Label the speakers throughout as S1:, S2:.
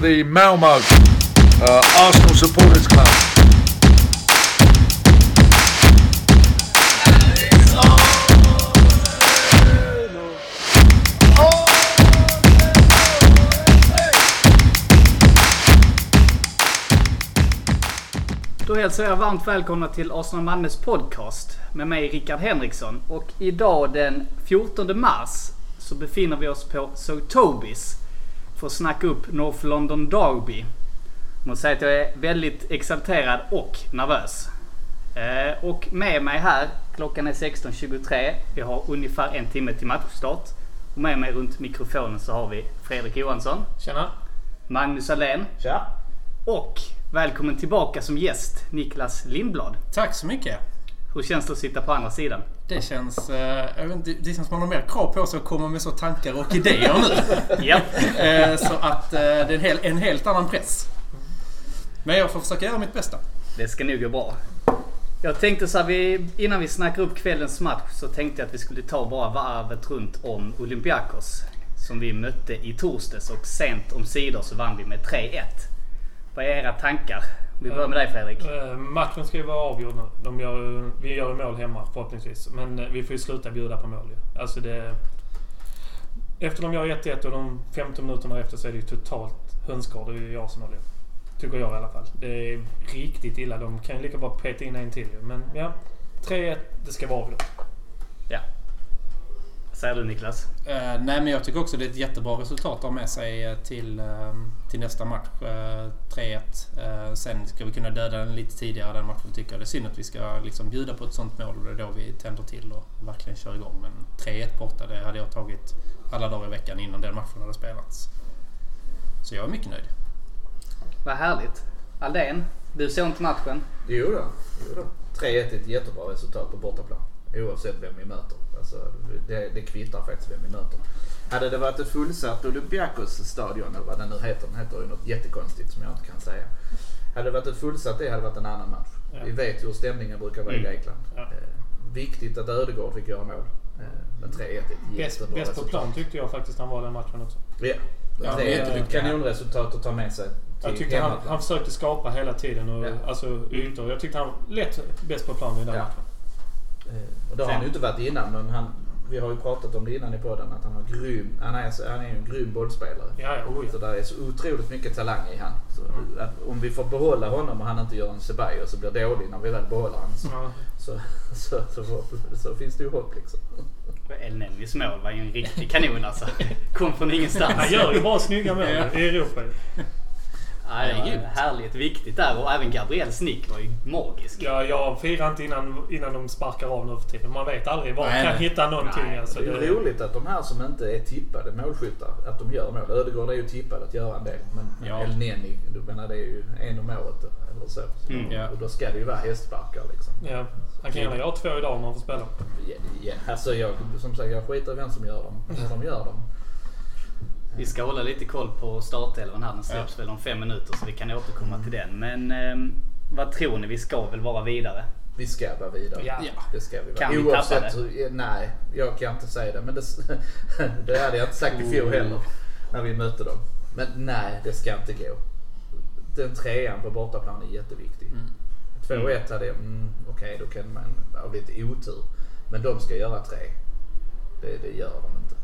S1: the Malmo uh, Arsenal Supporters Club.
S2: Då hälsar jag varmt välkomna till Arsenal Malmös podcast med mig Rickard Henriksson. Och idag den 14 mars så befinner vi oss på Sotobis för att snacka upp North London Derby. Jag måste säga att jag är väldigt exalterad och nervös. Eh, och med mig här, klockan är 16.23. Vi har ungefär en timme till matchstart. Och med mig runt mikrofonen så har vi Fredrik Johansson,
S3: Tjena!
S2: Magnus Ahlén
S3: Tja!
S2: och välkommen tillbaka som gäst Niklas Lindblad.
S3: Tack så mycket!
S2: Hur känns det att sitta på andra sidan?
S3: Det känns, eh, jag vet inte, det känns som man har mer krav på sig att komma med så tankar och idéer nu.
S2: Ja.
S3: Eh, så att eh, det är en, hel, en helt annan press. Men jag får försöka göra mitt bästa.
S2: Det ska nog gå bra. Jag tänkte så här, vi, innan vi snackar upp kvällens match så tänkte jag att vi skulle ta bara varvet runt om Olympiakos. Som vi mötte i torsdags och sent om sidor så vann vi med 3-1. Vad är era tankar? Vi börjar med dig Fredrik.
S4: Eh, matchen ska ju vara avgjord nu. De gör, ju- vi gör ju mål hemma förhoppningsvis. Men eh, vi får ju sluta bjuda på mål ju. Alltså det... Efter de gör 1-1 och de 15 minuterna efter så är det ju totalt hönsgård i Arsenal ju. Tycker jag i alla fall. Det är riktigt illa. De kan ju lika bra peta in en till ju. Men ja. 3-1. Det ska vara avgjort.
S2: Ja. Vad säger du Niklas?
S3: Eh, nej men jag tycker också det är ett jättebra resultat att ha med sig eh, till, eh, till nästa match. Eh, 3-1. Eh, sen ska vi kunna döda den lite tidigare den matchen tycker jag. Det är synd att vi ska liksom bjuda på ett sånt mål och det är då vi tänder till och verkligen kör igång. Men 3-1 borta det hade jag tagit alla dagar i veckan innan den matchen hade spelats. Så jag är mycket nöjd.
S2: Vad härligt. Aldén, du såg inte matchen.
S5: Jo då, jo då. 3-1 är ett jättebra resultat på bortaplan. Oavsett vem vi möter. Alltså, det, det kvittar faktiskt vem vi möter. Hade det varit ett fullsatt Olympiakos stadion, eller vad den nu heter. Den heter ju något jättekonstigt som jag inte kan säga. Hade det varit ett fullsatt det hade det varit en annan match.
S4: Ja. Mm.
S5: Vi vet ju hur stämningen brukar vara i Grekland.
S4: Ja.
S5: Eh, viktigt att Ödegård fick göra mål. Eh, men 3-1 är ett
S4: Bäst,
S5: jättebra
S4: bäst på
S5: resultat.
S4: plan tyckte jag faktiskt han var den matchen också.
S5: Ja,
S3: Ja,
S5: det är ett
S3: jätteduktig.
S5: kanonresultat att ta med sig
S4: Jag
S5: till
S4: tyckte han,
S5: hemmaplan.
S4: han försökte skapa hela tiden. Och,
S5: Ja.
S4: Alltså ytor. Jag tyckte han lätt bäst på plan i den
S5: Ja.
S4: matchen.
S5: Eh, Och det har
S2: Sen-
S5: han ju inte varit innan men han, vi har ju pratat om det innan i podden att han, har grym, han, är, så- han är ju en grym bollspelare.
S4: Ja, ja, oh, ja.
S5: Så där är så otroligt mycket talang i han. Så att om vi får behålla honom och han inte gör en Ceballos så blir det dålig när vi väl behåller honom så,
S4: Ja.
S5: så, så, så, får- så finns det ju hopp liksom.
S2: El Nennys mål var ju en riktig kanon alltså. Kom från ingenstans.
S4: Han gör ju bara snygga mål i Europa ju.
S2: Ja, det var
S3: Herregud.
S2: härligt viktigt där och även Gabriels nick var ju magisk.
S4: Ja, jag firar inte innan, innan de sparkar av nu för tiden. Man vet aldrig var
S3: Nej,
S4: man kan
S3: nej.
S4: hitta någonting.
S2: Nej,
S4: alltså,
S5: det är ju roligt att de här som inte är tippade målskyttar, att de gör mål. Ödegård är ju tippad att göra en del. Men
S3: Ja.
S5: El Neni, du menar det är ju en om året eller så.
S2: Mm,
S3: ja.
S5: Och då ska det ju vara hästsparkar liksom.
S4: Ja, han kan gärna göra två idag om han får spela.
S5: Ja, ja, alltså jag, som sagt, jag skiter i vem som gör dem. Hur de gör dem.
S2: Vi ska hålla lite koll på startelvan här. Den släpps väl om fem minuter så vi kan återkomma till den. Men ehm, vad tror ni? Vi ska väl vara vidare?
S5: Vi ska vara vidare.
S4: Ja.
S3: Ja.
S5: Det ska vi vara.
S2: Kan vi tappa det?
S5: hur- ja, nej, jag kan inte säga det. Men det, det hade jag inte sagt i fjol heller. När vi mötte dem. Men nej, det ska inte gå. Den trean på bortaplan är jätteviktig. 2-1 hade jag, mm, okej då kan man ha lite otur. Men de ska göra tre. Det, det gör de inte.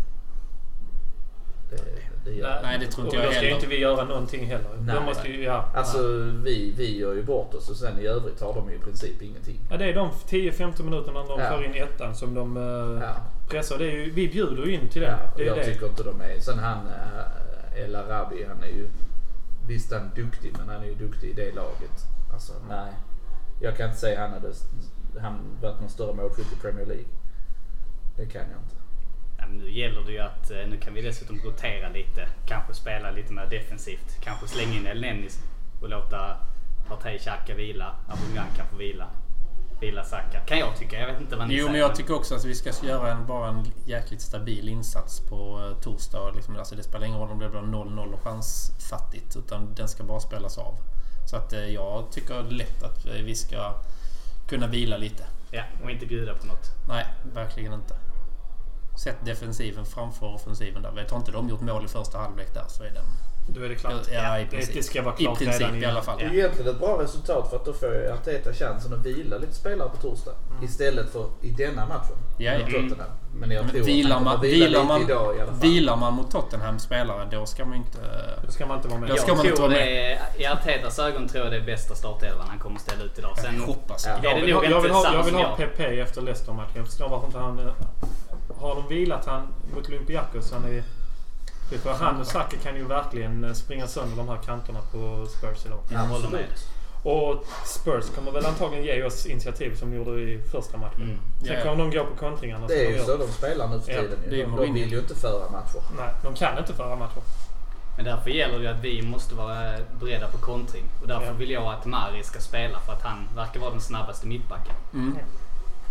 S5: Det, det gör de
S3: Nej det tror
S4: Och
S3: inte
S4: då
S3: jag
S4: ska ju inte
S3: heller.
S4: vi göra någonting heller.
S5: Nej,
S4: de måste ju, ja,
S5: Alltså vi, vi gör ju bort oss och sen i övrigt har de ju i princip ingenting.
S4: ja, det är de 10-15 minuterna de
S5: Ja.
S4: får in ettan som de eh,
S5: Ja.
S4: pressar. Det är ju, vi bjuder ju in till det.
S5: Ja, och
S4: det är
S5: jag
S4: det.
S5: tycker inte de är... Sen han eh, El Arabi, han är ju... Visst han är duktig, men han är ju duktig i det laget. Alltså nej. Jag kan inte säga han hade s- han varit någon större målskytt i Premier League. Det kan jag inte.
S2: Ja, men nu gäller det ju att eh, nu kan vi dessutom rotera lite. Kanske spela lite mer defensivt. Kanske slänga in El Nennis och låta Partey Xhaka vila. Aubameyang kan få vila. Vila Saka kan jag tycka. Jag vet inte vad ni
S3: Jo
S2: säger.
S3: men jag tycker också att vi ska göra en, bara en jäkligt stabil insats på eh, torsdag. Liksom. Alltså, det spelar ingen roll om det blir 0-0 och chansfattigt. Utan den ska bara spelas av. Så att eh, jag tycker lätt att eh, vi ska kunna vila lite.
S2: Ja, och inte bjuda på något.
S3: Nej, verkligen inte. Sätt defensiven framför offensiven där. Vet har inte de gjort mål i första halvlek där så är den
S4: Då är det klart.
S3: Ja, i
S4: det,
S3: princip.
S4: det ska vara
S3: I
S4: klart redan
S3: princip i
S4: innan.
S3: alla fall.
S5: Det är ju egentligen ett bra resultat för att då får ju Arteta chansen att vila lite spelare på torsdag. Istället för i denna matchen.
S3: Ja, ja.
S5: mot Tottenham. Men Mm. jag
S3: Men
S5: tror att
S3: vilar
S5: han
S3: man,
S5: kommer vila
S3: vilar,
S5: lite
S3: man,
S5: idag i alla fall.
S3: vilar man mot Tottenham spelare då ska man ju inte... eh,
S4: Då ska man inte vara med.
S3: Jag ska man
S2: jag
S3: inte
S2: tror
S3: vara
S2: det är, i Artetas ögon tror jag det är bästa startelvan han kommer ställa ut idag. Sen,
S3: Jag hoppas
S5: Ja.
S2: är
S4: Jag
S2: det
S4: vill,
S2: nog
S4: ha, jag
S2: inte
S4: vill, ha,
S2: samma
S4: jag vill
S2: som
S4: ha
S2: jag.
S4: PP efter Leicester-matchen. Jag förstår varför inte han... eh, Har de vilat han mot Olympiakos? Han är... det är För han och Saka kan ju verkligen eh, springa sönder de här kanterna på Spurs idag.
S5: Ja,
S2: Jag håller
S5: absolut.
S2: med.
S4: Och Spurs kommer väl antagligen ge oss initiativ som de gjorde i första matchen.
S2: Mm.
S4: Sen
S3: Ja, ja.
S4: kommer de gå på kontringarna. som
S5: Det är
S4: de
S5: ju
S4: gör.
S5: så Alltså, de spelar nu för
S4: Ja,
S5: tiden.
S3: det är
S5: ju. de, de
S3: Mourinho.
S5: vill ju inte föra matcher.
S4: Nej, de kan inte föra matcher.
S2: Men därför gäller det ju att vi måste vara beredda på kontring. Och därför
S4: Ja.
S2: vill jag att Mari ska spela för att han verkar vara den snabbaste mittbacken.
S3: Mm.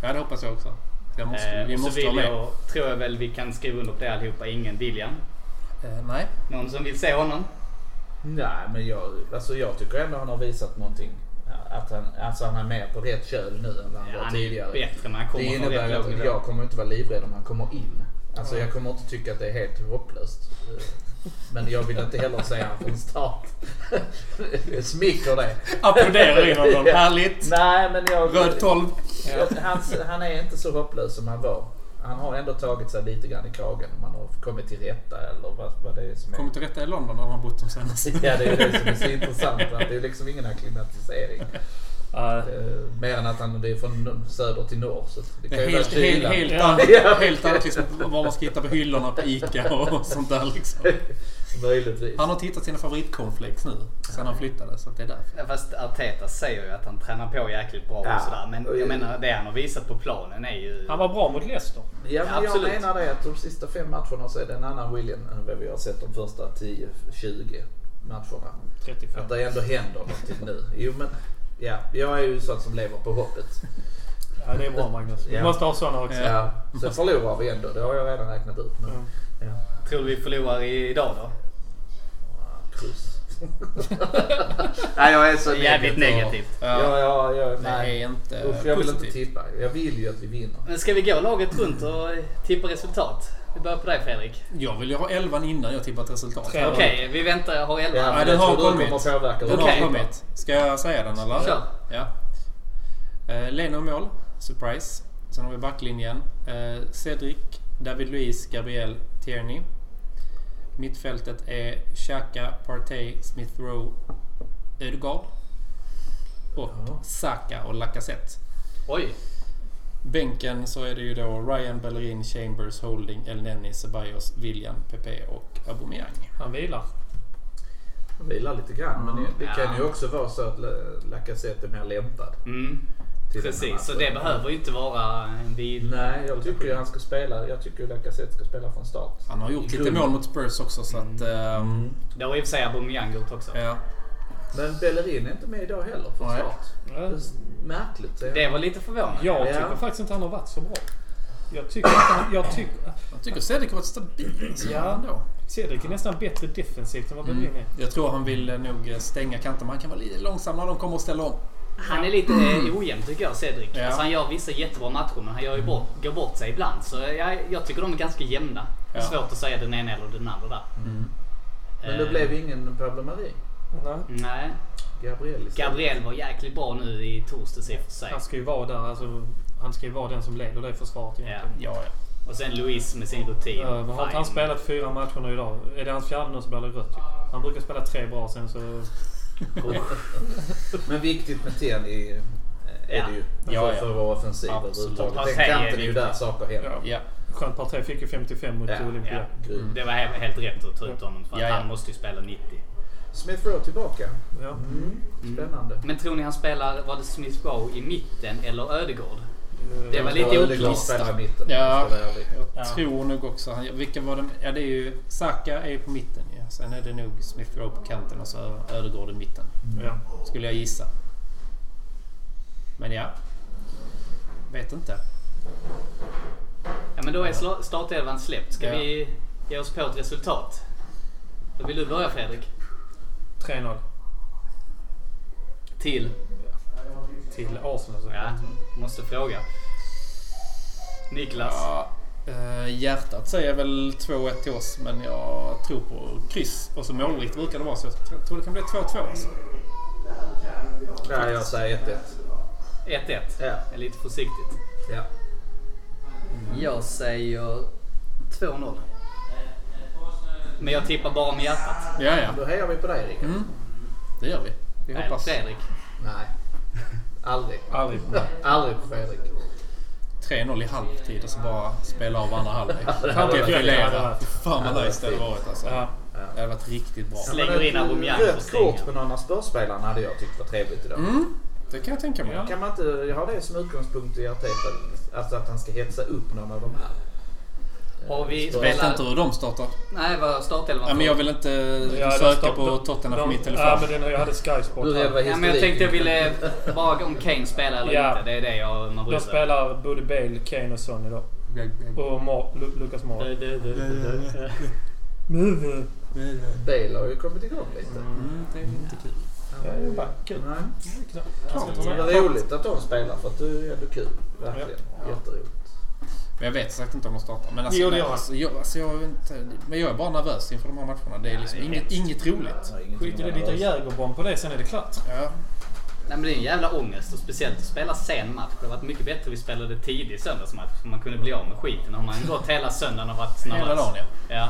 S3: Ja, det hoppas jag också. Jag måste,
S2: Eh,
S3: vi
S2: och så
S3: måste
S2: vill
S3: ha med.
S2: jag, tror jag väl vi kan skriva under på det allihopa. Ingen William.
S3: Eh, nej.
S2: Någon som vill se honom?
S5: Nej, men jag, alltså jag tycker ändå han har visat någonting. Att han, alltså han är mer på rätt köl nu än vad han
S2: Ja,
S5: var
S2: han är ju
S5: tidigare.
S2: bättre när han
S5: Det
S2: kommer från
S5: innebär
S2: rätt låg
S5: att
S2: nivå.
S5: jag kommer inte vara livrädd om han kommer in. Alltså jag kommer inte tycka att det är helt hopplöst. Eh, Men jag vill inte heller säga han från start. Jag Smicker det.
S3: Applåderar in honom. Härligt!
S5: Nej men jag...
S3: Röd 12.
S5: jag- han, han är inte så hopplös som han var. Han har ändå tagit sig lite grann i kragen om han har kommit till rätta eller vad, vad det är som är.
S3: Kommer till rätta i London där han har bott de senaste.
S5: Ja det är det som är så intressant. Att det är liksom ingen acklimatisering.
S4: Eh,
S5: Eh, Mer än att han det är från söder till norr. Så det kan
S3: Det
S5: ju
S3: är
S5: vara
S3: helt, helt,
S5: kylan.
S3: helt,
S4: Ja.
S3: annat,
S5: Ja.
S3: helt annat liksom, vad man ska hitta på hyllorna på ICA och, och sånt där liksom.
S5: Möjligtvis.
S3: Han har tittat sina favoritcornflakes nu sen han flyttade så att det är därför.
S2: Ja, Fast Arteta säger ju att han tränar på jäkligt bra
S5: Ja.
S2: och sådär. Men jag menar det han har visat på planen är ju...
S4: han var bra mot Leicester.
S5: Ja, men jag
S2: absolut.
S5: menar det att de sista fem matcherna så är det en annan William än vad vi har sett de första 10-20 matcherna.
S4: 35.
S5: Att det ändå händer någonting nu. Jo men, ja, jag är ju sån som lever på hoppet.
S4: Ja, det är bra Magnus. Vi
S5: Ja.
S4: måste ha såna också.
S3: Ja.
S5: Ja, sen förlorar vi ändå, det har jag redan räknat ut. Men,
S4: Mm.
S5: ja,
S2: Tror du vi förlorar i- idag då?
S5: kryss. nej, jag är så
S2: Jävligt negativt.
S3: Ja.
S5: Ja, ja, ja,
S3: Det
S5: nej.
S3: är inte
S5: Usch, jag vill inte
S3: positivt.
S5: tippa. Jag vill ju att vi vinner.
S2: Men ska vi gå laget runt och tippa resultat? Vi börjar på dig Fredrik.
S3: Jag vill ju ha elvan innan jag tippat resultat.
S4: Tre. Ja.
S2: Okej, vi väntar. Har elva.
S5: Ja,
S3: Ja,
S5: men
S3: den
S5: jag
S3: har
S5: tror du
S3: kommit.
S5: kommer påverka
S3: Den
S5: vår
S2: Okej.
S3: har
S5: tippa.
S3: kommit. Ska jag säga den eller?
S2: Kör.
S3: Ja. Eh, Leno i mål. Surprise. Sen har vi backlinjen. Eh, Cedric, David Luiz, Gabriel, Tierney. Mittfältet är Xhaka, Partey, Smith Rowe, Ödegaard. Och
S5: Ja.
S3: Saka och Lacazette.
S2: Oj,
S3: Bänken så är det ju då Ryan, Bellerin, Chambers, Holding, Elneny, Ceballos, William, Pepe och Aubameyang.
S4: Han vilar.
S5: Vilar lite grann, men det, det kan ju
S2: Ja.
S5: också vara så att La- Lacazette är mer lämpad.
S2: Mm,
S5: till alltså. den här
S2: precis. Så
S5: matchen.
S2: det behöver ju inte vara en bil.
S5: Nej, jag tycker ju han ska spela. Jag tycker ju Lacazette ska spela från start.
S3: Han har gjort lite
S5: Grund.
S3: mål mot Spurs också så att...
S2: Mm.
S3: ehm,
S2: Det har i och för sig Aubameyang gjort också.
S3: ja.
S5: Men Bellerin är inte med idag heller från
S3: Nej.
S5: start. Det är s- märkligt. säger
S2: Det
S5: jag.
S2: var lite förvånande.
S4: Jag
S5: Ja.
S4: tycker faktiskt inte han har varit så bra. Jag tycker inte han, jag tycker,
S3: Jag tycker Cedric har varit stabil alltså,
S4: Mm. Ja.
S3: ändå.
S4: Cedric är nästan bättre defensivt än vad
S5: Mm.
S4: Berlin är.
S3: Jag tror han vill eh, nog stänga kanten men han kan vara lite långsam när de kommer och ställa om.
S2: Han är lite eh, ojämn tycker jag, Cedric.
S3: Ja.
S2: Alltså, han gör vissa jättebra matcher men han gör ju bort, går bort sig ibland. Så jag, jag tycker de är ganska jämna. Det är
S3: Ja.
S2: svårt att säga den ena eller den andra där.
S5: Mm. Men det
S2: Eh,
S5: blev ingen Pablo Mari.
S4: Nej.
S2: Nej.
S5: Gabriel istället.
S2: Gabriel var jäkligt bra nu i torsdags i och för sig.
S4: Han ska ju vara där. Alltså, han ska ju vara den som leder det försvaret
S2: Ja.
S4: egentligen.
S3: Ja, ja.
S2: Och sen Luis med sin rutin.
S4: Eh, men har inte
S2: Fine.
S4: han spelat fyra matcher nu idag? Är det hans fjärde nu så blir det rött ju. Han brukar spela tre bra sen så...
S5: Men viktigt med Tierney eh, är det ju.
S3: Ja,
S5: för,
S3: ja.
S5: för vår offensiv
S3: Absolut.
S5: överhuvudtaget. Den
S2: Partey är
S5: kanten är ju där
S2: viktigt.
S5: saker händer.
S4: Ja.
S3: ja.
S4: Skönt parti. Fick ju 55 mot
S5: Ja,
S4: Olympia.
S2: ja.
S5: Grym.
S2: Det var he- helt rätt att ta ut honom för att
S3: Ja, ja.
S2: han måste ju spela 90.
S5: Smith Rowe tillbaka.
S4: Ja.
S5: Mm. Spännande.
S2: Men tror ni han spelar, var det Smith Rowe i mitten eller Ödegård?
S4: Eh,
S2: Det var lite
S5: Ja, Ödegaard
S2: oklart.
S5: spelar i mitten.
S3: Ja.
S5: om jag ska vara ärlig.
S3: Jag
S4: Ja.
S3: tror nog också han... Vilka var de... Ja, det är ju... Saka är ju på mitten ja. Sen är det nog Smith Rowe på kanten och så Ödegaard i mitten.
S4: Ja.
S3: Skulle jag gissa. Men ja. Vet inte.
S2: Ja men då är sla- startelvan släppt. Ska
S3: Ja.
S2: vi ge oss på ett resultat? Då vill du börja Fredrik.
S4: 3-0
S2: Till?
S4: till Arsenal. Så.
S2: Ja, måste fråga. Niklas?
S3: Ja, Eh, hjärtat säger väl 2-1 till oss, men jag tror på kryss. Och så målrikt brukar det vara, så jag tror det kan bli 2-2 alltså.
S5: Ja, jag säger 1-1.
S2: 1-1.
S5: Ja.
S2: Är lite försiktigt.
S5: Ja.
S2: Jag säger 2-0. Men jag tippar bara med hjärtat.
S3: Ja, ja.
S5: Då hejar vi på dig Rickard.
S3: Mm. Det gör vi. Vi
S2: Nej,
S3: hoppas.
S2: Fredrik.
S5: Nej. Aldrig.
S4: Aldrig.
S5: Aldrig på Fredrik.
S3: 3-0 i halvtid och så bara spela av andra halvlek.
S5: det
S3: Fan,
S5: hade
S3: det
S5: varit-
S4: det hade
S3: Defilera.
S4: varit-
S3: Fy Fan
S5: det
S3: vad
S5: hade
S3: nice det hade
S5: varit
S3: varit alltså.
S4: Ja.
S3: Det hade varit riktigt bra.
S2: Slänger
S5: Men
S2: in Aubameyang
S5: Ett
S2: på
S5: rött
S2: strängen.
S5: kort på någon av spörspelarna hade jag tyckt var trevligt idag.
S3: Mm. Det kan jag tänka mig.
S5: Kan man inte ha det som utgångspunkt i Arteta? Alltså att han ska hetsa upp någon av de här.
S2: Har vi
S3: Jag vet
S2: spelat...
S3: inte hur de startar.
S2: Nej, vad startelvan
S3: Ja, men jag vill inte
S4: Ja, de
S3: söka
S4: stopp-
S3: på
S4: de-
S3: Tottenham
S4: de-
S3: på min
S4: Ja,
S3: telefon.
S4: men den, jag hade Sky Sport.
S5: Du är
S4: här.
S5: vad
S2: Ja, men jag tänkte jag ville bara om Kane spelar eller
S4: Ja.
S2: inte. Det är det jag man bryr
S4: De
S2: sig om.
S4: spelar både Bale, Kane och Son idag.
S3: Mm,
S4: Och Mar- Lu- Lucas Moura. eh.
S5: Bale har ju kommit igång lite.
S3: Mm, det är inte kul.
S4: Ja, det är bara kul.
S5: Nej.
S4: Han ska ta
S5: Det
S4: med-
S5: är roligt att de spelar för att du är ändå kul. Verkligen. Jätteroligt.
S3: Men jag vet sagt inte om de startar. Men
S4: Jo,
S3: alltså,
S4: det
S3: nej,
S4: gör han.
S3: alltså, jag, alltså, jag, är inte, men jag är bara nervös inför de här matcherna. Det är liksom inget, inget roligt.
S5: Nej, ingenting
S4: Skit i det,
S5: med
S4: lite
S5: nervös.
S4: jägerbomb på det sen är det klart.
S3: Ja.
S2: Nej, men det är en jävla ångest och speciellt att spela sen match. Det hade varit mycket bättre om vi spelade tidig söndagsmatch för man kunde bli av med skiten. Har man gått hela söndagen och varit nervös.
S3: Hela dagen ja. Mm.
S2: Ja.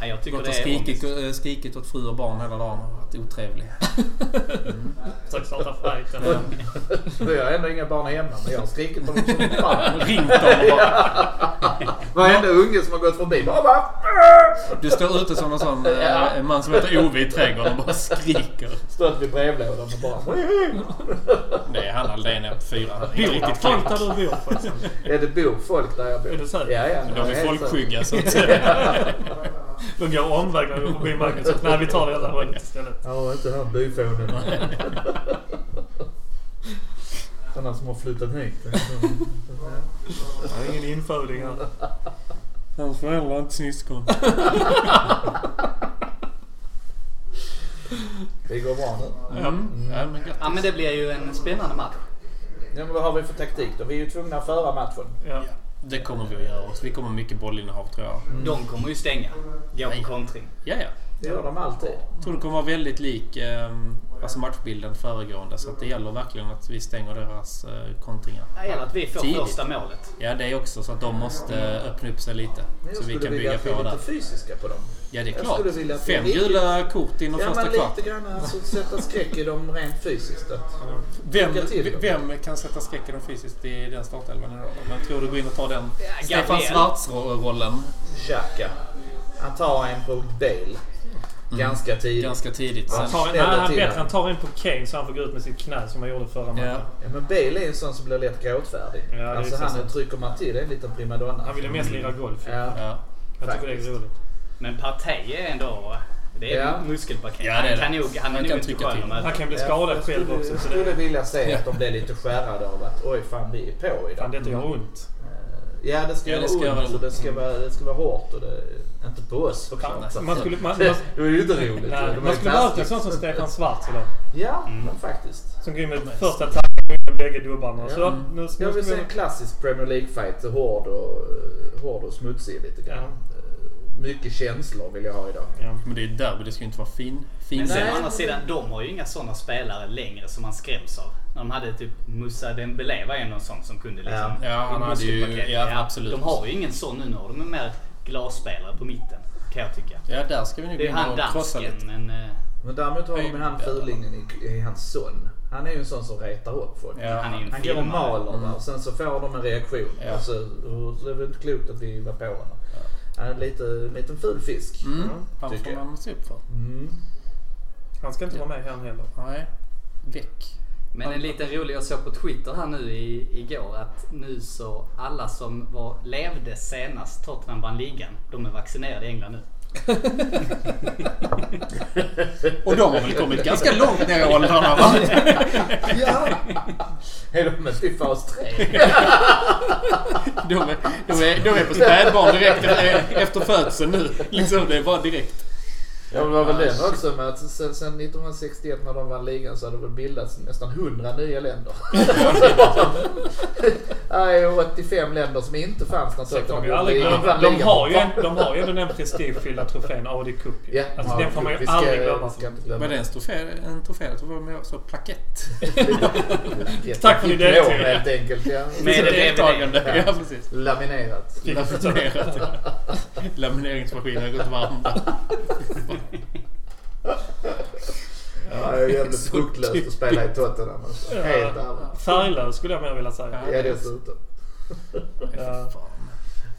S2: ja jag tycker
S3: Gått
S2: det
S3: och
S2: är
S3: skrikit,
S2: ångest.
S3: eh, skrikit åt fru och barn hela dagen och varit otrevlig.
S4: Försökt starta fighten.
S5: Jag har ändå inga barn hemma men jag har skrikit på dem som fan.
S3: Ringt dem och bara,
S5: Varenda unge som har gått förbi bara va?
S3: Du står ute som en sån eh,
S5: Ja.
S3: en man som heter Ove i trädgården och bara skriker.
S5: Stött vid brevlådan och bara
S3: Det är han Aldén är på fyra. Det är
S4: Riktigt
S3: riktigt klart.
S4: Folk där du bor faktiskt.
S5: Är det bor folk där jag bor?
S4: Är du säker?
S5: Ja, ja.
S3: De
S5: jag
S3: är
S5: helt säker.
S3: folkskygga så att säga.
S4: De går omvägar och går förbi Magnus. Nej, vi tar det andra hållet istället.
S5: Ja, inte han byfånen. Sådana som har flyttat hit.
S4: Det är ingen inföding här.
S3: Hans föräldrar är inte syskon.
S5: Det går bra nu.
S3: Mm. Ja, men gött.
S2: Ja men det blir ju en spännande match.
S5: Ja, men vad har vi för taktik då? Vi är ju tvungna att föra matchen.
S4: Ja.
S3: Det kommer vi att göra också. Vi kommer mycket bollinnehav tror jag.
S2: De kommer ju stänga. Gå på kontring.
S3: Ja, ja.
S5: Det gör de alltid.
S3: Jag tror det kommer vara väldigt lik ehm, alltså matchbilden föregående. Så att det gäller verkligen att vi stänger deras eh, kontringar.
S2: Ja, Eller att vi får
S3: Tidigt.
S2: första målet.
S3: Ja, det är också så att de måste eh, öppna upp sig lite.
S5: Men jag
S3: Så vi
S5: skulle
S3: kan
S5: vilja
S3: bygga
S5: att vi
S3: på
S5: är
S3: där.
S5: lite fysiska på dem.
S3: Ja, det är
S5: jag
S3: klart.
S5: skulle vilja att vi
S3: Fem
S5: riktigt-
S3: gula kort inom
S5: Ja,
S3: första
S5: men
S3: kvart.
S5: lite grann alltså, sätta skräck i dem rent fysiskt. Att,
S3: Vem,
S5: Lycka till då.
S3: vem kan sätta skräck i dem fysiskt i den startelvan idag? Men tror du går in och tar den
S2: Ja,
S3: Stefan
S2: Gabriel.
S3: Schwarz-rollen
S5: Xhaka. Han tar en på Bale. Ganska tidigt.
S3: ganska tidigt?
S5: Ja,
S3: Sen.
S4: Han tar, nej,
S5: Ställa
S4: han,
S5: till
S4: bättre,
S5: den.
S4: han tar in på Kane så han får gå ut med sitt knä som han gjorde förra matchen.
S3: Ja.
S5: Ja, men Bale är en sån som blir lätt gråtfärdig.
S4: Ja, det är
S5: alltså
S4: så
S5: han
S4: sant.
S5: trycker man till det är en liten primadonna.
S4: Han ville mest lira golf. ju.
S5: Ja.
S3: Ja.
S4: Jag tycker det
S5: faktiskt.
S4: är roligt.
S2: Men Partey är ändå... Det är
S5: Ja.
S2: ett muskelpaket.
S3: Ja, det är det.
S2: Han kan nog, han
S3: Han
S2: är
S3: kan
S2: nog inte
S3: trycka
S2: skön
S3: till.
S2: att
S4: Han
S2: möta.
S4: kan bli
S5: Ja,
S4: skadad
S5: jag
S4: själv
S5: skulle-
S4: också.
S5: Jag
S4: Så det,
S5: skulle vilja se att de blev lite skärrade av att oj fan vi är på idag. Eh,
S4: fan, detta gör ont.
S5: Ja det ska
S3: Ja,
S5: göra
S3: det ska göra
S5: ont och
S3: ont.
S5: det ska, vara, det ska vara hårt och det, inte på oss såklart.
S4: Man skulle, man, man,
S5: Alltså. Det det var ju inte roligt. Det var
S4: nej,
S5: ju
S4: man skulle behövt en
S5: taskigt.
S4: sån som Stefan Mm. Schwarz idag.
S5: Ja, men faktiskt.
S4: Som går in med första tacken med bägge dubbarna. Så,
S5: Ja.
S4: nu, nu, nu
S5: Jag vill
S4: ska
S5: se
S4: vi,
S5: en klassisk Premier League-fight. så Hård och, eh, hård och smutsig lite grann. Eh, Mycket känslor vill jag ha idag.
S4: ja.
S3: Men det är ju derby, det ska ju inte vara fin. fin
S2: Men sen
S5: Nej.
S2: å andra sidan, de har ju inga sådana spelare längre som man skräms av. När de hade typ Moussa Dembélé var ju någon sån som kunde liksom...
S3: Ja, han
S2: i
S3: hade ju-
S2: muskelpaket.
S3: ja, absolut.
S2: De har ju ingen sån nu. Nu har de en mer glasspelare på mitten. Kan jag tycka.
S3: Ja, där ska vi nu gå
S2: Det är
S3: in
S2: han
S3: och krossa
S2: dansken,
S3: lite.
S2: men... eh,
S5: Men däremot har de ju han fulingen i, i hans son. Han är ju en sån som retar upp folk.
S3: Ja.
S2: Han är ju en
S5: Han går och
S2: filmare.
S5: maler va, och sen så får de en reaktion.
S3: Ja.
S5: Alltså, och så är det inte klokt att vi var på honom. Han är lite, en liten ful fisk.
S3: Mm. Han
S5: tycker
S3: får
S5: jag.
S3: man se upp för.
S5: Mm.
S4: Han ska inte vara med här heller.
S3: Nej. Väck.
S2: Men en liten rolig, jag såg på Twitter här nu i, igår att nu så alla som var, levde senast Tottenham vann ligan, de är vaccinerade i England nu.
S3: Och de har väl kommit ganska långt ner i åldrarna va?
S5: Ja! är de inte i fas 3?
S3: De är, de är, de är på spädbarn direkt e- efter födseln nu. Liksom, det är bara direkt.
S5: Ja, men det var väl den också med att sen, sen 1961 när de vann ligan så hade det väl bildats nästan 100 nya länder. Nej, och 85 länder som inte fanns när
S4: Så kommer
S5: Tottenham
S4: vi aldrig
S5: gjorde-
S4: glömma.
S5: vann
S4: De
S5: ligan.
S4: har ju, en, de har ju ändå den prestigefyllda trofén AD Cup ju.
S5: Ja,
S4: alltså,
S5: ja,
S4: den får man ju
S5: vi ska-
S4: aldrig glömma.
S5: ska inte
S3: Var
S5: glömma.
S3: det en trofé? En trofé? Jag tror det var med också plakett.
S4: Tack för din
S5: Diplom,
S4: deltid.
S5: Helt enkelt, ja.
S3: Med
S2: det
S3: Alltså, deltagande.
S5: bredvid.
S3: Ja, precis.
S5: Laminerat.
S3: Laminerat. ja. Lamineringsmaskinen har gått varm.
S5: Ja, det är jävligt
S3: Så
S5: fruktlöst att spela i Tottenham. alltså.
S4: Ja.
S5: Helt ärligt.
S4: Färglös skulle jag mer vilja säga.
S5: Ja, dessutom.
S4: Ja.
S3: Fan.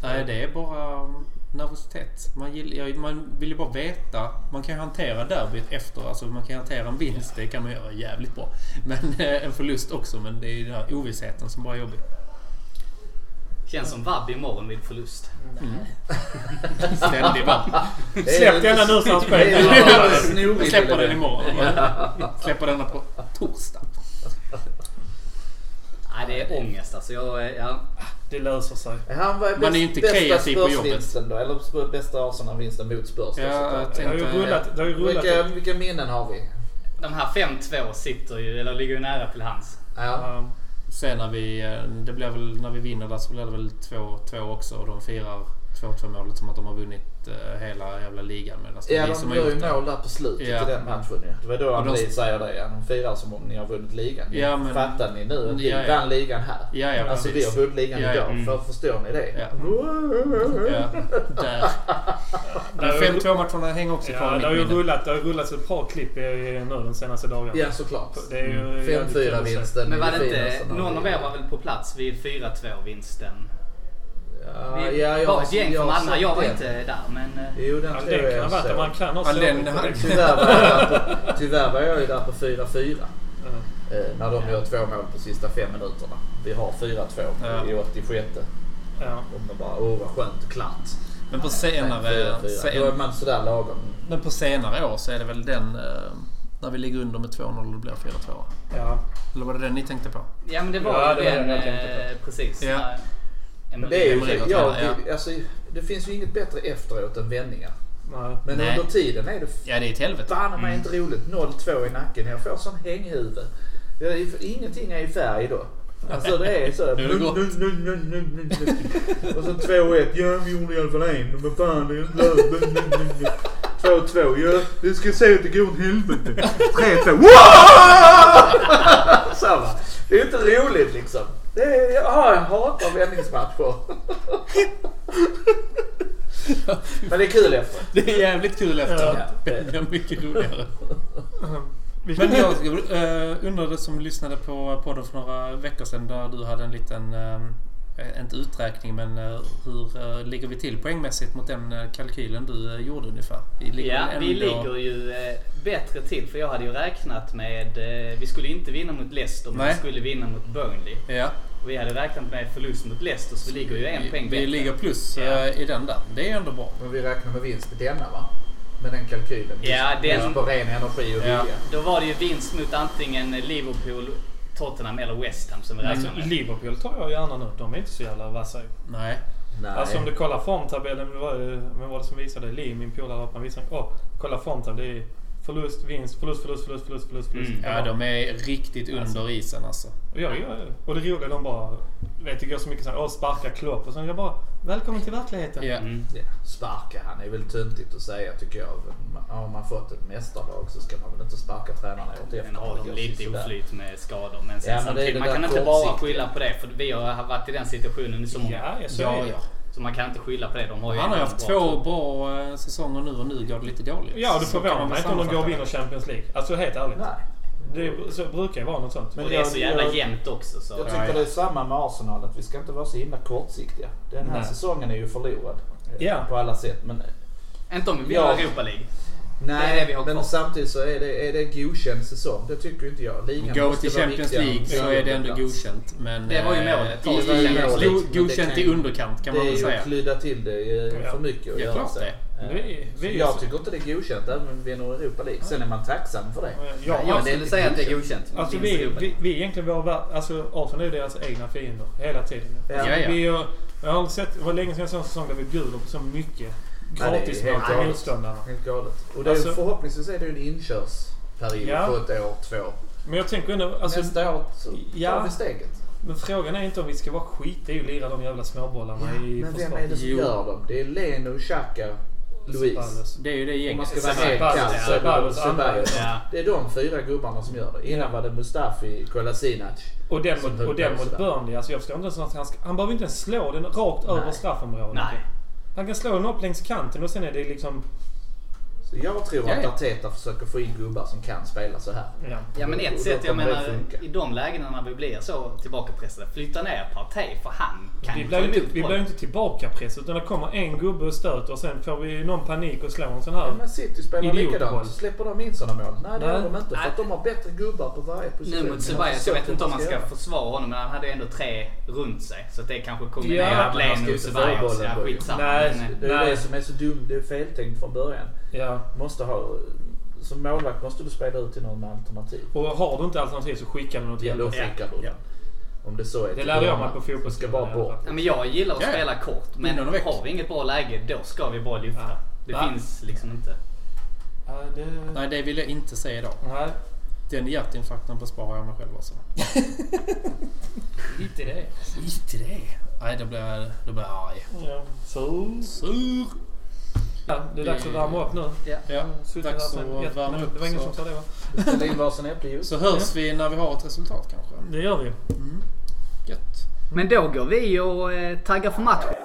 S3: Nej, det är bara um, nervositet. Man, gill, ja, man vill ju bara veta. Man kan ju hantera derbyt efter. Alltså man kan hantera en vinst. Det kan man göra jävligt bra. Men eh, en förlust också. Men det är ju den här ovissheten som bara är jobbig.
S2: Känns som vabb imorgon vid förlust.
S3: Ständig vab.
S5: Det är
S4: Släpp
S5: lite-
S4: denna nu så han
S5: det är
S4: spelar.
S5: lite snorigt
S3: Jag
S5: i
S3: släpper
S5: det.
S3: den imorgon. Släpper denna på torsdag.
S2: Nej, det är ångest alltså. Jag, ja.
S4: Det löser sig.
S5: Han var
S3: Man
S5: bäst,
S3: är ju inte
S5: bästa
S3: kreativ på jobbet.
S5: Spurs-vinsten då, eller Sp- bästa Arsenal-vinsten mot Spurs.
S3: Ja, eh, jag
S4: Det har ju
S3: tänkte...
S4: rullat. Det har ju rullat.
S5: vilka, vilka minnen har vi?
S2: De här 5-2 sitter ju, eller ligger ju nära till hans.
S5: Ja.
S4: Ja.
S3: Sen när vi, eh, det blev väl, när vi vinner där så blir det väl 2-2 också och de firar 2-2 målet som att de har vunnit eh, hela jävla ligan medan det
S5: Ja,
S3: är vi
S5: de
S3: som har
S5: gör
S3: gjort
S5: ju
S3: det.
S5: mål där på slutet
S3: Ja.
S5: i den matchen ju. Det var då
S3: Och de-
S5: Anneli säger det igen. De firar som om ni har vunnit ligan.
S3: Ja, men-
S5: Fattar ni nu? att Vi
S3: Ja, ja.
S5: vann ligan här.
S3: Ja, ja,
S5: alltså vi
S3: precis.
S5: har vunnit ligan
S3: Ja, ja.
S5: idag.
S3: Mm.
S5: För, förstår ni det?
S3: Ja. Ja, där.
S4: har ju-
S3: Men 5-2 matcherna hänger också kvar
S4: Ja,
S3: i
S4: det har ju
S3: mitt minne.
S4: rullat. Det har ju rullats ett par klipp i- i- nu de senaste dagarna.
S5: Ja, såklart.
S4: Det är ju jävligt kul
S5: 5-4
S4: att se.
S5: vinsten.
S2: Men var det
S5: i
S2: inte,
S5: finaste
S2: någon av
S5: när vi-
S2: er var väl på plats vid 4-2 vinsten?
S5: Ja,
S2: Vi
S5: ja, jag,
S2: var ett gäng
S5: jag
S2: från
S5: har
S2: Malmö.
S5: sett
S2: Jag var
S5: den.
S2: inte där men... eh,
S5: Jo, den
S4: Ja,
S5: tror
S4: det
S5: jag
S4: kan ha
S5: jag
S4: varit det.
S5: såg.
S4: Man kan ha
S3: Ja,
S4: sovit
S3: den
S4: på
S3: hade-
S4: det.
S5: Tyvärr var jag där på, tyvärr var jag ju där på 4-4.
S4: Ja.
S5: Eh, när de gör två mål på sista fem minuterna. Vi har 4-2
S3: Ja.
S5: i 86.
S4: Ja.
S5: Om de bara, åh vad skönt och klart.
S3: Men på senare,
S5: 4-4. Då är
S3: sen,
S5: man sådär lagom.
S3: men på senare år så är det väl den eh, när vi ligger under med 2-0 och det blir 4-2.
S4: Ja.
S3: Eller var det den ni tänkte på?
S2: Ja men det var
S4: Ja,
S2: ju
S4: det var
S2: den,
S4: den jag tänkte
S2: eh, precis.
S3: Ja.
S2: när
S4: Mm.
S5: Men det, är ju,
S3: Emery
S5: ja,
S3: var tränare,
S5: det, alltså, det finns ju inget bättre efteråt än vändningar.
S4: Nej.
S5: Men
S3: Nej.
S5: under tiden är det
S3: Ja, det är ett helvete.
S5: fan mig inte roligt. 0-2 i nacken. Jag får sån hänghuvud. Det är ju- Ingenting är i färg då. Alltså det är så.
S3: Nu är det gott.
S5: Nu, nu, nu, nu, nu, nu. Och sen 2-1. Ja, vi gjorde i alla fall en. Men vad fan, det är inte lönt. Nu, nu, nu, nu. 2-2. Ja, vi ska se att det går åt helvete. 3-2. Wow! Så va. Det är ju inte roligt liksom. Det är, ja, jag hatar vändningsmatcher. Men det är kul efter.
S3: Det är jävligt kul efteråt.
S5: Ja.
S3: Det blir mycket roligare.
S4: Vilken-
S3: Men jag eh, undrade som lyssnade på podden för några veckor sedan där du hade en liten, eh, inte uträkning men eh, hur eh, ligger vi till poängmässigt mot den eh, kalkylen du eh, gjorde ungefär? Vi ligger
S2: Ja,
S3: väl
S2: vi
S3: ändå-
S2: ligger ju eh, bättre till för jag hade ju räknat med... Eh, vi skulle inte vinna mot Leicester men
S3: Nej.
S2: vi skulle vinna mot Burnley.
S3: Ja,
S2: Och vi hade räknat med förlust mot Leicester så vi ligger ju en
S3: vi,
S2: poäng
S3: vi
S2: bättre.
S3: ligger plus
S2: Ja.
S3: eh, i den där. Det är ändå bra.
S5: Men vi räknar med vinst i denna va? Med den kalkylen.
S2: Ja,
S5: Just-
S2: den-
S5: just på ren energi och
S3: Ja.
S5: vilja.
S2: Då var det ju vinst mot antingen Liverpool, Tottenham eller West Ham som vi
S4: Alltså,
S2: räknade med.
S4: Liverpool tar jag gärna nu. De är inte så jävla vassa ju.
S3: Nej.
S5: Nej.
S4: Alltså om du kollar formtabellen. det var ju- Vem var det som visade? Lee, min polare. att Man visade. Åh, kolla formtabellen. Det är förlust, vinst, förlust, förlust, förlust, förlust, förlust. förlust.
S2: Mm,
S3: Ja, de är riktigt under isen alltså.
S4: Och, jag, jag, och det roliga de bara... Vet, det går så mycket såhär, åh sparka Klopp och sen jag bara, välkommen till verkligheten.
S3: Ja.
S2: Mm.
S5: Ja, sparka han är väl töntigt att säga tycker jag. Men Har man fått ett mästarlag så ska man väl inte sparka tränarna åt efter.
S2: Sen har
S5: Det
S2: de
S5: går
S2: lite
S5: sådär.
S2: oflyt med skador. Men sen
S5: Ja, men det är
S2: samtidigt,
S5: det
S2: man
S5: där
S2: kan inte bara
S5: kortsiktiga.
S2: skylla på det. För vi har varit i den situationen i så många
S4: Ja, så är
S3: Ja,
S4: det.
S3: ja.
S2: Så man kan inte skylla på det. De har ju
S3: Han har ju
S2: en
S3: haft
S2: bra
S3: två bra eh, säsonger nu och nu går det lite dåligt.
S4: Ja, och det
S3: Så kan
S4: förvånar
S3: man
S4: mig inte om de går
S3: sammanfatta
S4: och
S3: det.
S4: vinner Champions League. Alltså helt ärligt.
S5: Nej.
S4: Det så, brukar ju vara något sånt.
S5: Men
S2: Och det är så jävla
S5: jag-
S2: jämnt också. Så.
S5: Jag tycker det är samma med Arsenal. Att vi ska inte vara så himla kortsiktiga. Den här
S4: Nej.
S5: säsongen är ju förlorad. eh,
S4: Ja.
S5: På alla sätt. Men
S2: Inte om vi vinner
S5: Ja.
S2: Europa League.
S5: Nej,
S2: Det är det vi har
S5: men
S2: kvar.
S5: samtidigt så är det, är det godkänd säsong. Det tycker inte jag. Ligan
S3: Gå
S5: måste
S3: till
S5: vara
S3: Champions
S5: viktigare än
S3: League så
S5: fjärde
S3: är det ändå
S5: plats.
S3: godkänt. Men,
S2: Det var ju
S3: eh,
S2: målet.
S3: i-
S2: Det var ju
S3: i-
S2: målet.
S3: go-
S5: Men det
S3: Godkänt
S5: kan
S3: i
S5: ju-
S3: underkant kan man
S5: Det är
S3: väl
S5: ju
S3: säga.
S5: att klydda till det eh,
S4: Ja.
S5: för mycket att
S3: Ja,
S5: göra
S3: klart
S5: sig.
S4: det.
S5: Eh,
S4: Vi- vi är ju
S5: jag
S4: så-
S5: tycker inte det är godkänt även om vi vinner Europa League. Sen är man tacksam för det.
S4: Ja,
S2: Jag
S5: men det är
S2: skulle
S5: inte
S2: säga att det är godkänt.
S4: Alltså
S2: Vinst i
S4: vi,
S2: Europa
S4: vi,
S2: League.
S4: vi är egentligen våra vär- Alltså Arsenal är ju deras egna fiender hela tiden.
S5: Ja.
S4: Alltså,
S3: Ja, ja.
S4: Vi, har- jag har aldrig sett, det var länge sedan jag såg en säsong där vi bjuder på så mycket
S5: är
S4: gratis
S5: helt
S4: mot
S5: galet.
S4: motståndarna.
S5: Helt galet. Och det är,
S4: Alltså-
S5: förhoppningsvis är det ju en inkörsperiod
S4: Ja.
S5: på ett år, två.
S4: Men jag tänker ändå... Alltså,
S5: Nästa år så tar
S4: ja.
S5: vi steget.
S4: Men frågan är inte om vi ska bara skita i att lira de jävla småbollarna i
S5: men vem är det som
S6: Jo.
S5: gör dem? Det är Leno, Xhaka, Luis.
S4: Ceballos.
S6: Det är ju det
S5: Om man
S6: gänget.
S5: ska vara helt
S4: Ceballos,
S5: kass så är det
S4: Ceballos,
S5: Ceballos.
S7: Ja.
S5: Det är de fyra gubbarna som gör det. Innan var det Mustafi, Kolasinac.
S4: Och den
S5: Som
S4: mot,
S5: höll
S4: och den
S5: på
S4: mot
S5: sådär.
S4: Burnley. Alltså jag förstår inte ens att han, ska, han behöver inte ens slå den rakt över
S5: Nej.
S4: straffområdet.
S7: Nej.
S4: Han kan slå den upp längs kanten och sen är det liksom...
S5: Så jag tror att
S6: Ja.
S5: Arteta försöker få in gubbar som kan spela så här.
S4: Ja.
S7: Ja men
S5: Och
S7: ett
S5: då
S7: sätt, jag
S5: kommer det
S7: menar
S5: funka.
S7: i de lägena när vi blir så tillbakapressade. Flytta ner Partey för han kan
S4: Vi
S7: ju
S4: blir, ju
S7: ta
S4: inte,
S7: emot
S4: vi blir ju
S7: bollen.
S4: inte tillbakapress utan det kommer en gubbe och stöter och sen får vi någon panik och slår en sån
S5: Ja,
S4: här.
S5: men City spelar
S4: Idiotboll.
S5: likadant. Släpper de in sådana mål? Nej, det
S4: Nej.
S5: gör de inte. För
S7: Nej.
S5: att de har bättre gubbar på varje position.
S7: Nu mot Ceballos, jag vet inte om man ska försvara honom men han hade ändå tre runt sig. Så att det är kanske
S4: Ja, men han
S7: kombinerat
S5: ska
S7: Leno
S5: ju
S7: och
S5: inte få
S7: Ceballos.
S5: bollen
S7: Ja
S5: då ju.
S7: skitsamma.
S4: Nej,
S7: men, eh,
S5: Det är
S4: Nej.
S5: det som är så dumt. Det är feltänkt från början.
S4: Ja.
S5: Måste ha... Som målvakt måste du spela ut till någon med alternativ.
S4: Och har du inte alternativ så skickar du något
S5: Ja, då
S4: jävla-
S5: skickar du
S4: Ja.
S5: den. Om det så är.
S4: Det
S5: till
S4: lärde jag mig
S5: Burma.
S4: på fotbollsskolan.
S5: Ska bara
S4: i alla
S5: bort.
S4: fall.
S7: Ja, men jag gillar att
S6: Ja.
S7: spela kort, men
S6: Innan och väck.
S7: har vi inget bra läge då ska vi bara lyfta.
S4: Ja.
S7: Det
S4: Va?
S7: finns liksom inte.
S4: Ja, det...
S6: Nej, det vill jag inte säga idag.
S4: Nej.
S6: Den hjärtinfarkten besparar jag mig själv alltså.
S4: Skit i det.
S6: Skit i det. Nej, då blir jag, då blir jag arg.
S4: Ja. Så.
S6: Sur!
S4: Ja, det är dags att värma upp nu.
S6: Ja,
S4: Suttit här
S6: dags
S4: sen
S6: att
S4: jättelänge.
S6: värma upp.
S4: Det var ingen som
S6: Så,
S4: sa det va?
S5: Ställ in varsin äppeljuice.
S6: så hörs vi när vi har ett resultat kanske.
S4: Det gör vi.
S6: Gött.
S7: Men då går vi och eh, taggar för matchen.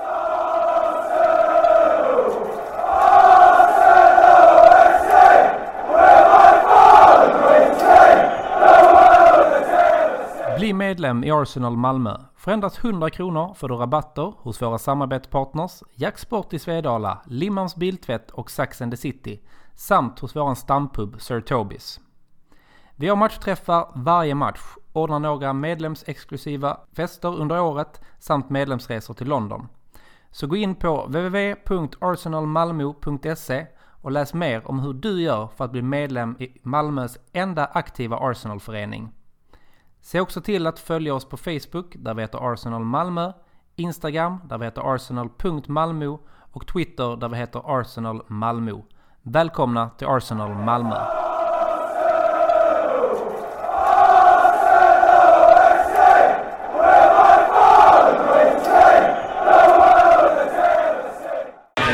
S3: Bli medlem i Arsenal Malmö. För endast 100 kronor får du rabatter hos våra samarbetspartners Jacksport i Svedala, Limmans Biltvätt och Sax and the City. Samt hos våran stampub Sir Tobis. Vi har matchträffar varje match, ordnar några medlemsexklusiva fester under året samt medlemsresor till London. Så gå in på www.arsenalmalmo.se och läs mer om hur du gör för att bli medlem i Malmös enda aktiva Arsenalförening. Se också till att följa oss på Facebook där vi heter Arsenal Malmö, Instagram där vi heter arsenal.malmo och Twitter där vi heter Arsenal Malmö. Välkomna till Arsenal Malmö!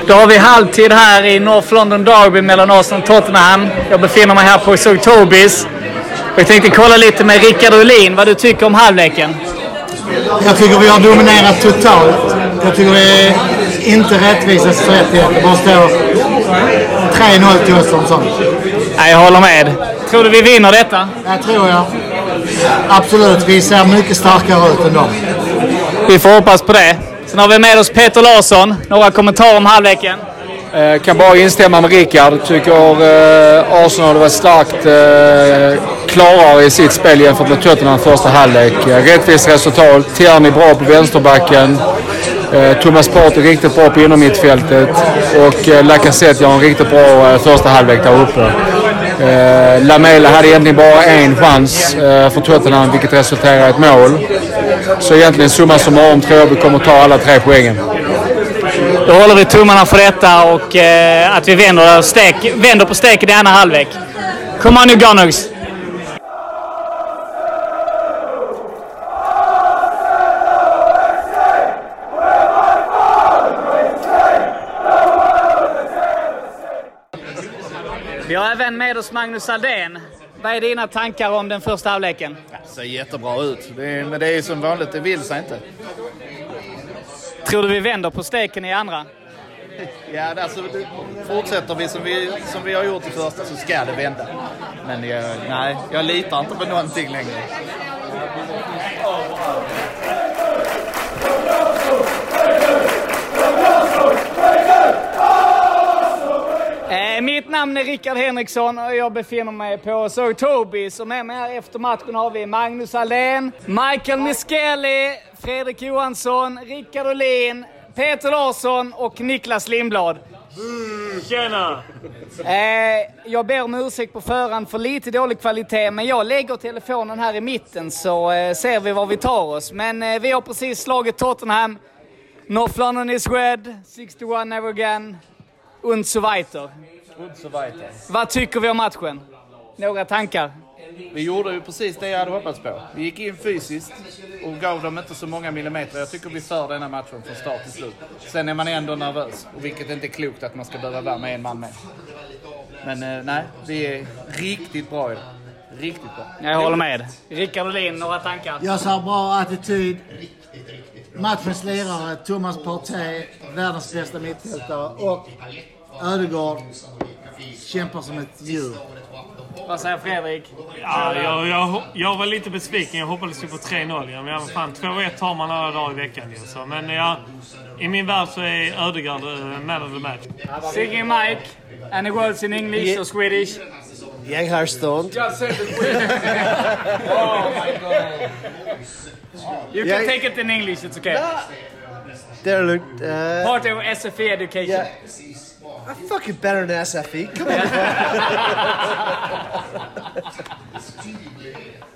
S7: Då har vi halvtid här i North London Derby mellan Arsenal och Tottenham. Jag befinner mig här på Sir Tobis. Jag tänkte kolla lite med Rickard Ulin vad du tycker om halvleken.
S8: Jag tycker vi har dominerat totalt. Jag tycker det är inte rättvisa rättighet. Det bara står 3-0 till oss som sånt.
S7: Nej, jag håller med. Tror du vi vinner detta?
S8: Jag tror jag. Absolut, vi ser mycket starkare ut än dem.
S7: Vi får hoppas på det. Sen har vi med oss Peter Larsson. Några kommentarer om halvleken?
S9: Eh, Kan bara instämma med Rickard. Tycker eh, Arsenal var starkt eh, klarare i sitt spel jämfört med Tottenham första halvlek. Eh, Rättvist resultat. Tierney bra på vänsterbacken. Eh, Thomas Partey riktigt bra på innermittfältet. Och eh, Lacazette gör en riktigt bra eh, första halvlek där uppe. Eh, Lamela hade egentligen bara en chans eh, för Tottenham vilket resulterar i ett mål. Så egentligen summa summarum tror jag vi kommer ta alla tre poängen.
S7: Då håller vi tummarna för detta och eh, att vi vänder, stek, vänder på steken i andra halvlek. Kom on nu Gunners! Vi har även med oss Magnus Aldén. Vad är dina tankar om den första halvleken?
S2: ser jättebra ut. Det är, men det är ju som vanligt, det vill sig inte.
S7: Tror du vi vänder på steken i andra?
S2: Ja, det- alltså, det, fortsätter vi som, vi som vi har gjort i första så ska det vända. Men jag, nej, jag litar inte på någonting längre.
S7: Eh, mitt namn är Rickard Henriksson och jag befinner mig på Sir Tobis. Och med mig här efter matchen har vi Magnus Aldén, Michael Miskelli, Fredrik Johansson, Rickard Olin, Peter Larsson och Niklas Lindblad.
S4: Tjena!
S7: Eh, jag ber om ursäkt på förhand för lite dålig kvalitet, men jag lägger telefonen här i mitten så eh, ser vi var vi tar oss. Men eh, vi har precis slagit Tottenham. North London is red, 61 never again, und so weiter. Vad tycker vi om matchen? Några tankar?
S10: Vi gjorde ju precis det jag hade hoppats på. Vi gick in fysiskt och gav dem inte så många millimeter. Jag tycker vi för denna matchen från start till slut. Sen är man ändå nervös, och vilket inte är klokt att man ska behöva vara med en man mer. Men eh, nej, vi är riktigt bra idag. Riktigt bra.
S7: Jag håller med. Rickard Olin, några tankar?
S11: Jag sa bra attityd. Matchens lirare, Thomas Partey, världens bästa mittfältare och Ödegård kämpar som ett djur.
S7: Vad säger Fredrik?
S4: Ja, jag, jag, jag var lite besviken. Jag hoppades ju på 3-0. Ja, men jag- fan, 2-1 har man alla dagar i veckan ju. Så, men jag, i min värld så är Ödegaard eh, man of the match.
S7: Singing Mike, any words in English or Swedish?
S8: Young Hearthstone.
S7: You can
S8: Yeah.
S7: take it in English, it's okay.
S8: They're look. Uh,
S7: Part of SFE education.
S8: yeah. I'm fucking better than SFE. Come on.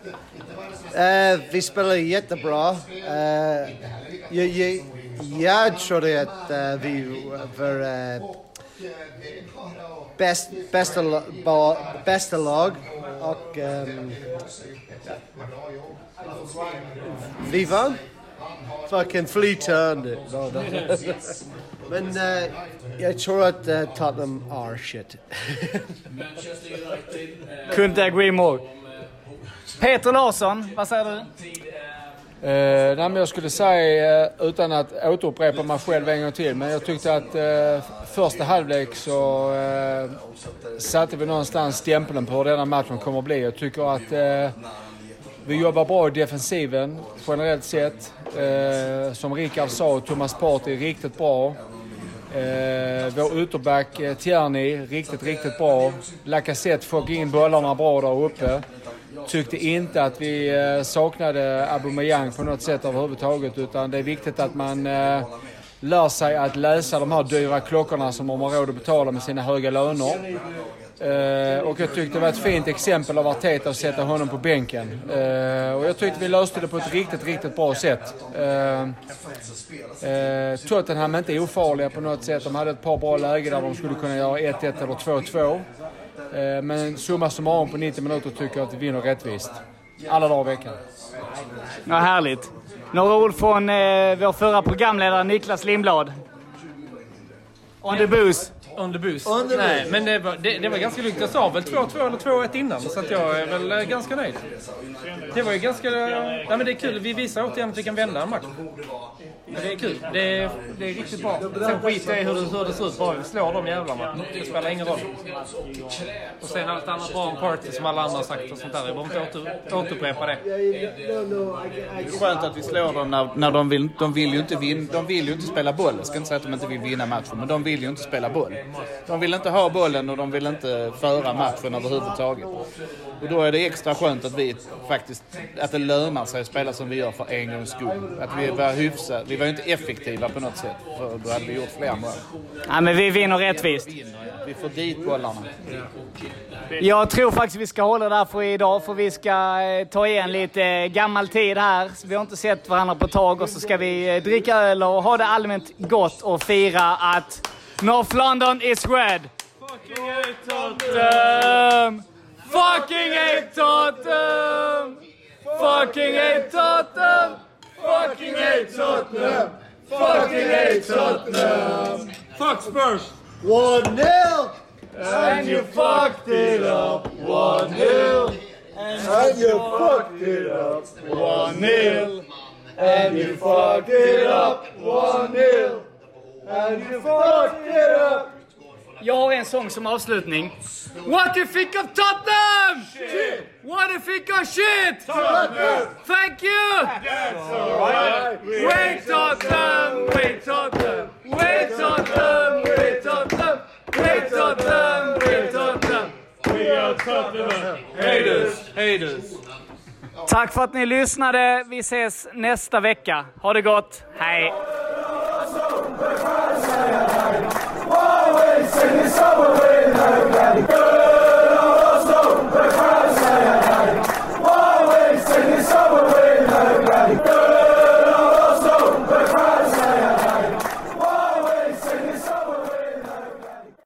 S8: Eh, vi spelar jättebra. Eh, jag, jag, jag trodde att eh, vi var eh, bäst, bästa, la- ba, bästa lag och ehm, vi vann. Fucking flytande. No, no. Men eh, jag tror att eh, Tottenham är shit.
S7: Couldn't agree more. Peter Larsson, vad säger du?
S12: Eh, nej, men jag skulle säga, eh, utan att återupprepa mig själv en gång till, men jag tyckte att eh, första halvlek så eh, satte vi någonstans stämpeln på hur denna matchen kommer att bli. Jag tycker att eh, vi jobbar bra i defensiven generellt sett. Eh, som Rickard sa, Thomas Partey är riktigt bra. Eh, vår ytterback eh, Tierney, riktigt, riktigt bra. Lacazette fick in bollarna bra där uppe. Tyckte inte att vi eh, saknade Aubameyang på något sätt överhuvudtaget utan det är viktigt att man eh, lär sig att läsa de här dyra klockorna som de har råd att betala med sina höga löner. Eh, och jag tyckte det var ett fint exempel av Arteta att sätta honom på bänken. Eh, och jag tyckte vi löste det på ett riktigt, riktigt bra sätt. Eh, Eh, Tottenham är inte ofarliga på något sätt. De hade ett par bra lägen där de skulle kunna göra 1-1 eller 2-2. Eh, men summa summarum på 90 minuter tycker jag att vi vinner rättvist. Alla dagar i veckan.
S7: Ja, härligt. Några ord från eh, vår förra programledare Niklas Lindblad. On the booze.
S3: On the boost. Nej, men det var, det, det var ganska lugnt. Jag sa väl 2-2 eller 2-1 innan, så att jag är väl eh, ganska nöjd. Det var ju ganska... Nej, men det är kul. Vi visar återigen att vi kan vända en match. Men Det är kul. Det är, det är riktigt bra. Sen skiter jag i hur det, hur det ser ut, bara vi slår de jävlarna. Det spelar ingen roll. Och sen allt annat bra om party som alla andra har sagt och sånt där. Jag behöver inte åter, återupprepa det.
S10: Det är skönt att vi slår dem när, när de, vill, de vill ju inte vinna. De vill ju inte spela boll. Jag ska inte säga att de inte vill vinna matchen, men de vill ju inte spela boll. De vill inte ha bollen och de vill inte föra matchen överhuvudtaget. Och då är det extra skönt att vi faktiskt, att det lönar sig att spela som vi gör för en gångs skull. Att vi var hyfsade. Vi var ju inte effektiva på något sätt, för då hade vi gjort fler mål.
S7: Ja, men vi vinner rättvist.
S10: Vi får dit bollarna.
S7: Jag tror faktiskt vi ska hålla där för idag, för vi ska eh, ta igen lite eh, gammal tid här. Så vi har inte sett varandra på ett tag och så ska vi eh, dricka öl och ha det allmänt gott och fira att North London is red. Fucking hate Tottenham! Fucking hate Tottenham! Fucking hate Tottenham! Fucking hate Tottenham! Fuck Spurs!
S8: 1 0!
S7: And you fucked it up. One nil.
S8: And you fucked it up. 1 0! And you fucked it up. 1 0! And you fucked it up.
S7: Jag har en sång som avslutning. What you think of Tottenham? Shit! What you think of shit? Tottenham! Thank you! Wait Tottenham! Wait Tottenham! Wait Tottenham! Wait Tottenham! Wait Tottenham! Wait Tottenham! Tack för att ni lyssnade. Vi ses nästa vecka. Ha det gott. Hej!
S8: Always in the subway.